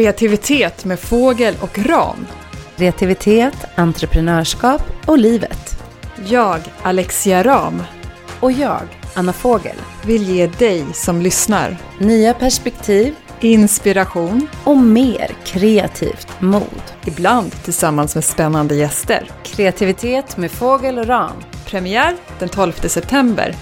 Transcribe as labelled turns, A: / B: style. A: Kreativitet med fågel och ram.
B: Kreativitet, entreprenörskap och livet.
A: Jag, Alexia Ram,
B: Och jag, Anna Fågel.
A: vill ge dig som lyssnar
B: Nya perspektiv
A: inspiration,
B: och mer kreativt mod.
A: ibland tillsammans med spännande gäster.
B: Kreativitet med fågel och ram.
A: Premiär den 12 september.